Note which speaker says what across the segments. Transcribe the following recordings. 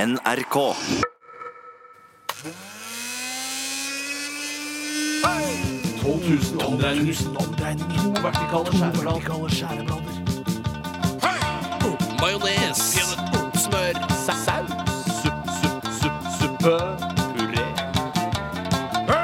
Speaker 1: NRK.
Speaker 2: Majones. Smør. Saus. Supp, supp, supp, suppe. Puré.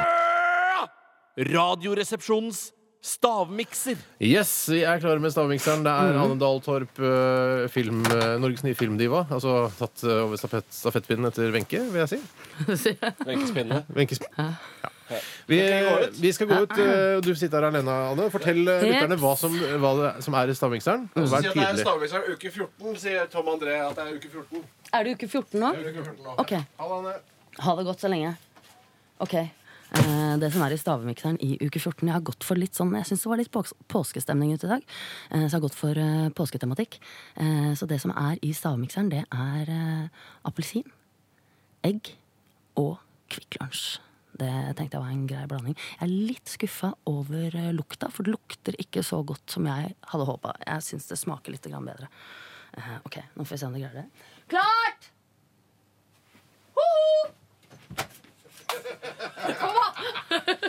Speaker 2: Radioresepsjonens stavmikser.
Speaker 3: Yes, vi er klare med stavmikseren. Det
Speaker 4: Mm.
Speaker 3: er Anne Dahl Torp, eh, film, eh, Norges nye filmdiva. Altså tatt eh, over stafett, stafettpinnen etter Wenche, vil jeg si. Wenche Sp- Ja. Vi, vi skal gå ut. eh, Du sitter her alene, Anne. Fortell eh,
Speaker 4: Yes.
Speaker 3: lytterne hva som, hva det, som er i stavmikseren. og Vær
Speaker 5: Si at det er
Speaker 3: tydelig.
Speaker 5: stavmikseren uke 14, sier Tom André at det er uke 14.
Speaker 4: Er det uke 14 nå?
Speaker 5: Uke 14 nå.
Speaker 4: Ok,
Speaker 5: Ha det, Anne.
Speaker 4: ha det godt så lenge. Ok. eh, Det som er i stavmikseren i uke 14 Jeg har gått for litt sånn, jeg syns det var litt pås- påskestemning ute i dag. eh, Så jeg har gått for eh, påsketematikk. Eh, Så det som er i stavmikseren, det er eh, appelsin, egg og Kvikk Lunsj. Det tenkte jeg var en grei blanding. Jeg er litt skuffa over eh, lukta, for det lukter ikke så godt som jeg hadde håpa. Jeg syns det smaker litt grann bedre. Eh, Ok, nå får vi se om det greier det. Klart! Hoho!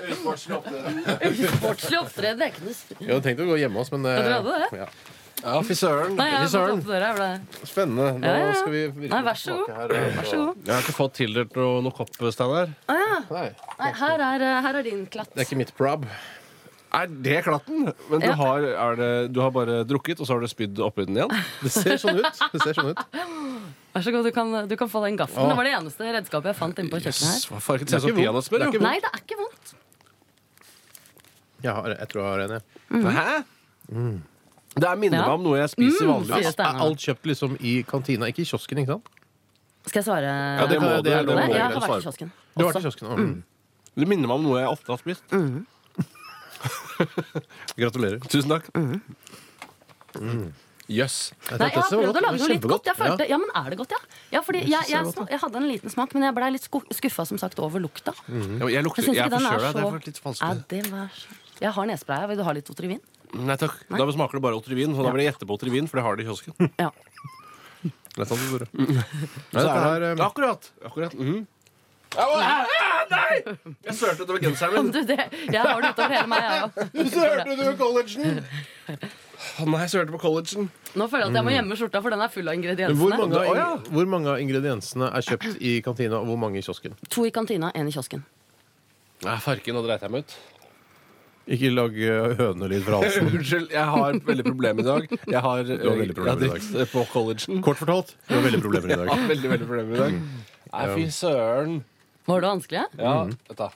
Speaker 5: Utvartsen opp til det.
Speaker 4: Sportslig opptreden. Det er ikke noe strid.
Speaker 3: Jeg hadde tenkt å gå hjemme hos, men eh,
Speaker 4: Ja, du hadde det?
Speaker 3: ja. Ja, fy søren.
Speaker 4: Nei, jeg
Speaker 3: Fy
Speaker 4: har fått
Speaker 3: søren.
Speaker 4: opp døra. jeg ble-
Speaker 3: Spennende. Nå
Speaker 4: Ja, ja, ja.
Speaker 3: skal vi virkelig
Speaker 4: Nei, vær så
Speaker 3: tilbake
Speaker 4: god.
Speaker 3: her, eh,
Speaker 4: Vær så god.
Speaker 6: Jeg har ikke fått tildelt noe, noe kopp, Steinar.
Speaker 3: Nei,
Speaker 4: Nei, her er, eh, her er din klatt.
Speaker 3: det er ikke mitt prob.
Speaker 6: Er det klatten? Men du,
Speaker 4: Ja.
Speaker 6: har, er det, du har bare drukket, og så har du spydd oppi den igjen?
Speaker 3: Det ser sånn ut. Det ser sånn ut.
Speaker 4: Vær så god, du kan, du kan få den gaffelen. Det var det eneste redskapet jeg fant inne på kjøkkenet her.
Speaker 6: Hva farken
Speaker 3: Det er
Speaker 6: ser ut som
Speaker 3: ikke vondt.
Speaker 6: peanøttsmør,
Speaker 3: Det er
Speaker 6: jo.
Speaker 4: Nei, det er ikke vondt.
Speaker 3: Jeg, har, jeg tror jeg har en, jeg.
Speaker 6: Hæ? Det er minner
Speaker 4: Mhm. Ja.
Speaker 6: meg om noe jeg spiser
Speaker 4: Mm,
Speaker 6: vanligvis.
Speaker 4: sier
Speaker 3: Er
Speaker 4: Steinar.
Speaker 3: alt kjøpt liksom i kantina, ikke i kiosken, ikke sant?
Speaker 4: Skal jeg svare?
Speaker 6: Ja, det må
Speaker 3: det-
Speaker 6: du.
Speaker 3: det er
Speaker 6: det må
Speaker 4: Nei,
Speaker 6: du
Speaker 4: jeg har vært i
Speaker 6: svare på.
Speaker 4: kiosken.
Speaker 3: Du har vært i
Speaker 4: Også.
Speaker 3: kiosken. Mm.
Speaker 6: Det minner meg om noe jeg ofte har spist.
Speaker 3: Gratulerer.
Speaker 6: Tusen takk.
Speaker 4: Mm-hmm.
Speaker 6: Jøss.
Speaker 4: Nei, jeg har
Speaker 3: Dette var
Speaker 4: prøvd å
Speaker 3: godt.
Speaker 4: lage noe litt
Speaker 3: Kjempegodt.
Speaker 4: godt. Jeg følte, ja, men er det godt, ja? Ja, fordi jeg, jeg,
Speaker 3: det var
Speaker 4: sma- jeg hadde en liten smak, men jeg blei litt skuffa, som sagt, over lukta.
Speaker 6: Jeg, jeg
Speaker 4: Jeg
Speaker 6: lukter
Speaker 4: syns
Speaker 6: Jeg
Speaker 4: ikke den er
Speaker 6: forskjøla. Det har vært litt
Speaker 4: så Ja,
Speaker 6: vanskelig.
Speaker 4: det var så Jeg har nesespray. Vil du ha litt Otrivin?
Speaker 6: Nei takk. Da smaker det bare Otrivin, så da vil jeg gjette på Otrivin, for det har det i kiosken.
Speaker 4: Ja.
Speaker 3: Det er sant, Tore.
Speaker 6: Mm.
Speaker 3: Nei, dette her, eh,
Speaker 6: Akkurat. Akkurat. mhm. Au, au, au, Nei! Jeg sølte utover genseren min.
Speaker 4: Du, det, jeg har det utover hele meg, jeg òg.
Speaker 6: Sørte du collegen? Å nei, sørte på collegen.
Speaker 4: Nå føler jeg at jeg må gjemme skjorta, for den er full av ingrediensene.
Speaker 3: hvor, mange av,
Speaker 6: Å, ja.
Speaker 3: ing- hvor mange av ingrediensene er kjøpt i kantina, og hvor mange i kiosken?
Speaker 4: To i kantina, én i kiosken.
Speaker 6: Nei, farken, nå dreit jeg meg ut.
Speaker 3: Ikke lag eh, hønelyd fra halsen.
Speaker 6: Unnskyld, jeg har veldig problemer i dag. Jeg har,
Speaker 3: Du har veldig problemer i dag.
Speaker 6: dritt på collegen.
Speaker 3: Kort fortalt, du har veldig problemer i
Speaker 6: Jeg
Speaker 3: dag.
Speaker 6: har veldig, veldig problemer i dag. Nei, fy søren.
Speaker 4: Var det vanskelig?
Speaker 6: Ja, vet da.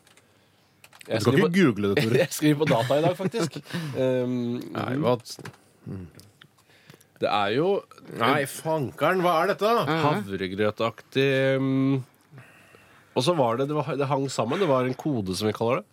Speaker 6: Jeg
Speaker 3: Du kan ikke
Speaker 6: skriver,
Speaker 3: google det,
Speaker 6: på,
Speaker 3: Tore.
Speaker 6: jeg skriver på data i dag, faktisk. Um,
Speaker 3: Nei, hva?
Speaker 6: det er jo
Speaker 3: Nei, fankeren, hva er dette?
Speaker 6: havregrøtaktig um, Og så var det det, var, det hang sammen. Det var en kode, som vi kaller det.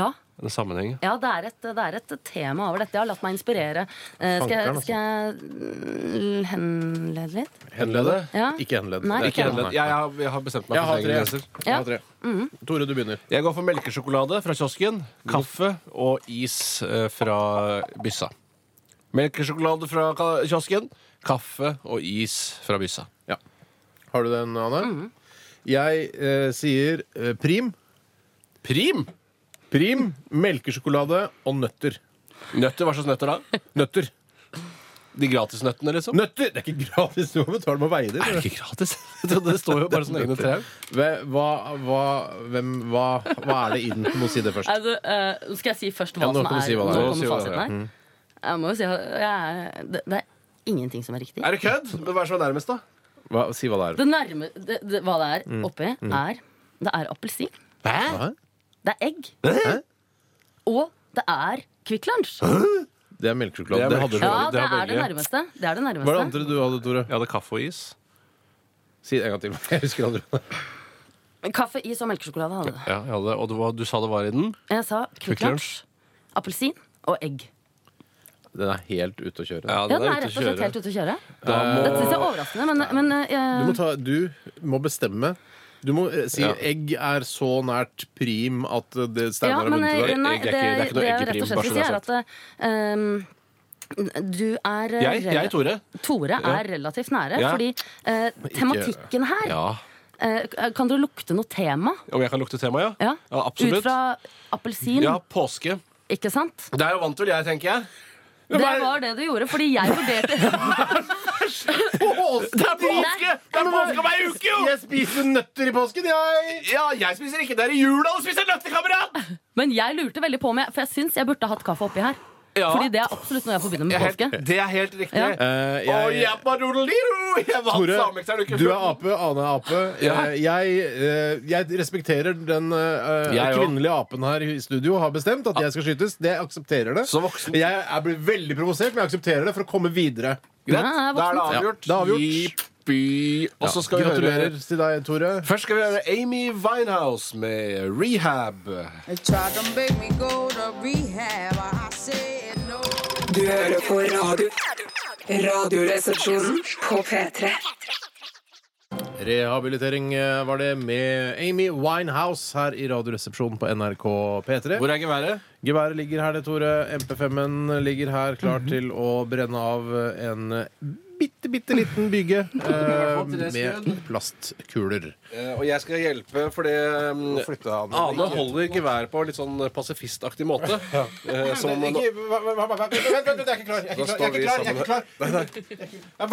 Speaker 4: Ja.
Speaker 6: En sammenheng.
Speaker 4: ja det, er et, det er et tema over dette. Jeg har latt meg inspirere. Eh, skal,
Speaker 3: Tankeren, altså.
Speaker 4: jeg, skal jeg mm, henlede litt?
Speaker 3: Henlede?
Speaker 4: Ja.
Speaker 3: Ikke henlede.
Speaker 4: Nei,
Speaker 3: Det er
Speaker 4: ikke
Speaker 6: Ikke
Speaker 3: henlede.
Speaker 6: heller. Jeg, jeg, har- jeg har bestemt meg
Speaker 3: Jeg
Speaker 6: for
Speaker 3: har
Speaker 6: tre
Speaker 3: tre.
Speaker 6: ingredienser.
Speaker 3: Jeg har tre. Tore, du begynner.
Speaker 6: Jeg går for melkesjokolade fra kiosken, kaffe og is eh, fra byssa. Melkesjokolade fra ka- kiosken, kaffe og is fra byssa.
Speaker 3: Har du den, Anne? Jeg eh, sier eh, prim.
Speaker 6: Prim!
Speaker 3: Prim, melkesjokolade og nøtter.
Speaker 6: Nøtter, hva slags nøtter da?
Speaker 3: Nøtter.
Speaker 6: De gratisnøttene, liksom?
Speaker 3: Nøtter! Det er ikke gratis, du må betale med å veie det.
Speaker 6: Er det ikke gratis? Jeg trodde Det står jo bare som egne trær.
Speaker 3: Hva, hva, hva- hvem, hva, hva er det i den? Du må si det først.
Speaker 4: Nei, du, eh, nå skal jeg si først hva
Speaker 3: Ja, nå
Speaker 4: som
Speaker 3: kan
Speaker 4: er
Speaker 3: du si hva det er. Mm.
Speaker 4: Nå
Speaker 6: Nå si hva det er.
Speaker 4: kommer fasiten her. Jeg må jo si at jeg er, det, det er ingenting som er riktig.
Speaker 6: Er det kødd? Men Hva er så nærmest, da?
Speaker 3: Hva, si hva det er.
Speaker 4: Det nærme, det, det, hva det er
Speaker 3: Mm.
Speaker 4: oppi, er Det er appelsin.
Speaker 3: Hæ?
Speaker 4: Det er egg. Og det er Kvikk Lunsj.
Speaker 3: Det er
Speaker 6: Det
Speaker 3: melkesjokolade.
Speaker 6: er
Speaker 3: Det hadde du.
Speaker 4: Ja,
Speaker 6: det
Speaker 4: det
Speaker 6: har
Speaker 4: er det
Speaker 6: begge.
Speaker 4: nærmeste. Det er det
Speaker 3: Hva er det
Speaker 4: nærmeste.
Speaker 3: andre du hadde, Tore?
Speaker 6: Jeg hadde kaffe og is.
Speaker 3: Si det en gang til. Jeg husker aldri.
Speaker 4: Kaffe, is og melkesjokolade hadde det.
Speaker 6: Ja, jeg hadde, Og det var, du sa det var i den?
Speaker 4: Jeg sa
Speaker 6: Kvikk
Speaker 4: Kvikk Lunsj, appelsin og egg.
Speaker 3: Den er helt ute å kjøre.
Speaker 4: Ja, den er rett og slett helt ute å kjøre.
Speaker 6: Da
Speaker 4: Dette syns jeg
Speaker 6: må
Speaker 4: er overraskende, men, men eh,
Speaker 3: Du må, ta, du må bestemme. Du må eh, si
Speaker 6: Ja.
Speaker 3: egg er så nært prim at eh, det
Speaker 4: ja,
Speaker 3: Steinar har
Speaker 4: men,
Speaker 3: vunnet i
Speaker 4: eh,
Speaker 3: dag.
Speaker 4: nei,
Speaker 6: Egg er ikke-
Speaker 4: det,
Speaker 6: det er ikke noe
Speaker 4: det jeg
Speaker 6: eggeprim,
Speaker 4: rett og
Speaker 6: bare
Speaker 4: slett
Speaker 6: så
Speaker 4: vil
Speaker 6: det
Speaker 4: si,
Speaker 6: er
Speaker 4: er at eh, um, Du er eh,
Speaker 6: Jeg, jeg
Speaker 4: rela-
Speaker 6: Tore.
Speaker 4: Tore
Speaker 6: Ja.
Speaker 4: er relativt nære,
Speaker 6: Ja.
Speaker 4: fordi eh, tematikken her
Speaker 6: Ja.
Speaker 4: eh, Kan dere lukte noe tema?
Speaker 6: Om jeg kan lukte temaet, ja?
Speaker 4: Ja,
Speaker 6: Ja, absolutt.
Speaker 4: Ut fra appelsin,
Speaker 6: Ja, påske.
Speaker 4: ikke sant?
Speaker 6: Det er jo vant til, jeg, tenker jeg.
Speaker 4: Det
Speaker 6: bare-
Speaker 4: var det du gjorde, fordi jeg vurderte
Speaker 6: Det er påske! Det er påske om ei uke, jo!
Speaker 3: Jeg spiser nøtter i påsken, jeg!
Speaker 6: Ja, jeg spiser ikke det er i jula og spiser nøtter, kamerat!
Speaker 4: Men jeg lurte veldig på om jeg For jeg syns jeg burde hatt kaffe oppi her.
Speaker 6: Ja.
Speaker 4: Fordi det er absolutt noe jeg forbinder med påske.
Speaker 6: det er helt riktig.
Speaker 4: Ja.
Speaker 3: Eh,
Speaker 6: Å,
Speaker 3: jeg-
Speaker 6: jappa doodle-doo! Jeg vant
Speaker 3: Tore,
Speaker 6: Samekseren uke
Speaker 3: du er
Speaker 6: 14.
Speaker 3: ape, Ane er ape.
Speaker 6: Ja.
Speaker 3: Eh, Jeg, eh, jeg respekterer den eh,
Speaker 6: Jeg òg.
Speaker 3: kvinnelige apen her i studio har bestemt at jeg skal skytes. Det jeg aksepterer det.
Speaker 6: Så voksen.
Speaker 3: Jeg er blitt veldig provosert, men jeg aksepterer det for å komme videre.
Speaker 6: Greit, da er
Speaker 4: Ja, jeg er
Speaker 6: det
Speaker 3: voksen.
Speaker 6: avgjort.
Speaker 3: Ja, det er avgjort.
Speaker 6: Jippi. Og så skal vi
Speaker 3: Gratulerer
Speaker 6: høre
Speaker 3: til deg, Tore.
Speaker 6: Først skal vi høre Amy Winehouse med Rehab.
Speaker 1: They tried to make me go to rehab. I said no.
Speaker 7: Du hører på radio. Radioresepsjonen på P3.
Speaker 3: Rehabilitering eh, var det med Amy Winehouse her i Radioresepsjonen på NRK P3.
Speaker 6: Hvor er geværet?
Speaker 3: Geværet ligger her, det, Tore. MP5-en ligger her, klar til å brenne av en bitte, bitte liten byge eh, med plastkuler.
Speaker 6: Eh, Og jeg skal hjelpe, fordi um, Ane holder gevær på en litt sånn pasifistaktig måte. Eh, Som om
Speaker 3: Vent, vent, vent, jeg er ikke klar! Jeg er
Speaker 6: Da står vi sammen.
Speaker 3: Vær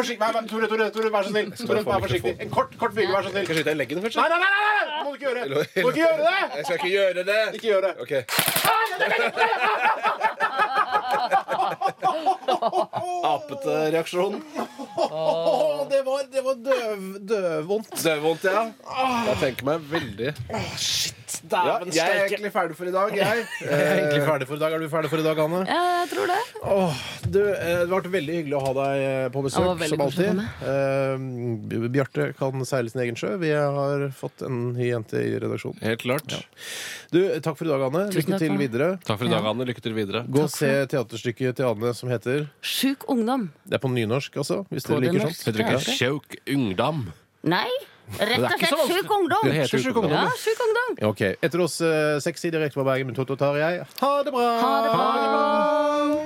Speaker 3: forsiktig! Vær- vær- Tore, Tore, Tore, vær så snill! Tore, vær forsiktig. En kort, kort byge, vær så snill!
Speaker 6: Skal jeg skyte deg i leggen først?
Speaker 3: Nei, nei, nei! nei, nei! Må du ikke gjøre! Må du ikke gjøre det!
Speaker 6: Jeg skal ikke gjøre det!
Speaker 3: Ikke gjør det.
Speaker 6: Ok. Apete reaksjon.
Speaker 3: Åh, det var, det var døv, døvvondt. Ah.
Speaker 6: Døvvondt, ja. Jeg tenker meg veldig ja, Jeg er egentlig ferdig for i dag, jeg.
Speaker 3: Jeg er Eh, egentlig ferdig for i dag. Er du ferdig for i dag, Anne?
Speaker 4: Ja, jeg tror det.
Speaker 3: Åh, du, eh, det har vært veldig hyggelig å ha deg eh, på
Speaker 4: Det var
Speaker 3: besøk,
Speaker 4: veldig
Speaker 3: som
Speaker 4: koselig å
Speaker 3: alltid. Eh, Bjarte kan seile sin egen sjø. Vi har fått en ny jente i redaksjonen.
Speaker 6: Helt klart.
Speaker 3: Du, takk for i dag, Anne.
Speaker 4: Tusen
Speaker 3: Lykke
Speaker 4: takk
Speaker 3: til
Speaker 4: for meg.
Speaker 3: videre.
Speaker 6: Takk for i dag, Anne. Lykke til videre.
Speaker 3: Gå og se teaterstykket til Anne som heter
Speaker 4: Sjuk ungdom.
Speaker 3: Det er på nynorsk, altså. Hvis
Speaker 4: På
Speaker 3: dere
Speaker 4: det
Speaker 3: liker
Speaker 4: norske.
Speaker 3: sånt.
Speaker 6: Heter det ikke
Speaker 4: Ja.
Speaker 6: Sjauk Ungdom?
Speaker 4: Nei, rett og slett sjuk ungdom.
Speaker 6: Det heter Sjuk Ungdom,
Speaker 4: Ja, sjuk ungdom.
Speaker 3: Ja, Ok. Etter oss eh, sexy direkte fra Bergen med Totto Tarjei. Ha det bra!
Speaker 4: Ha det bra.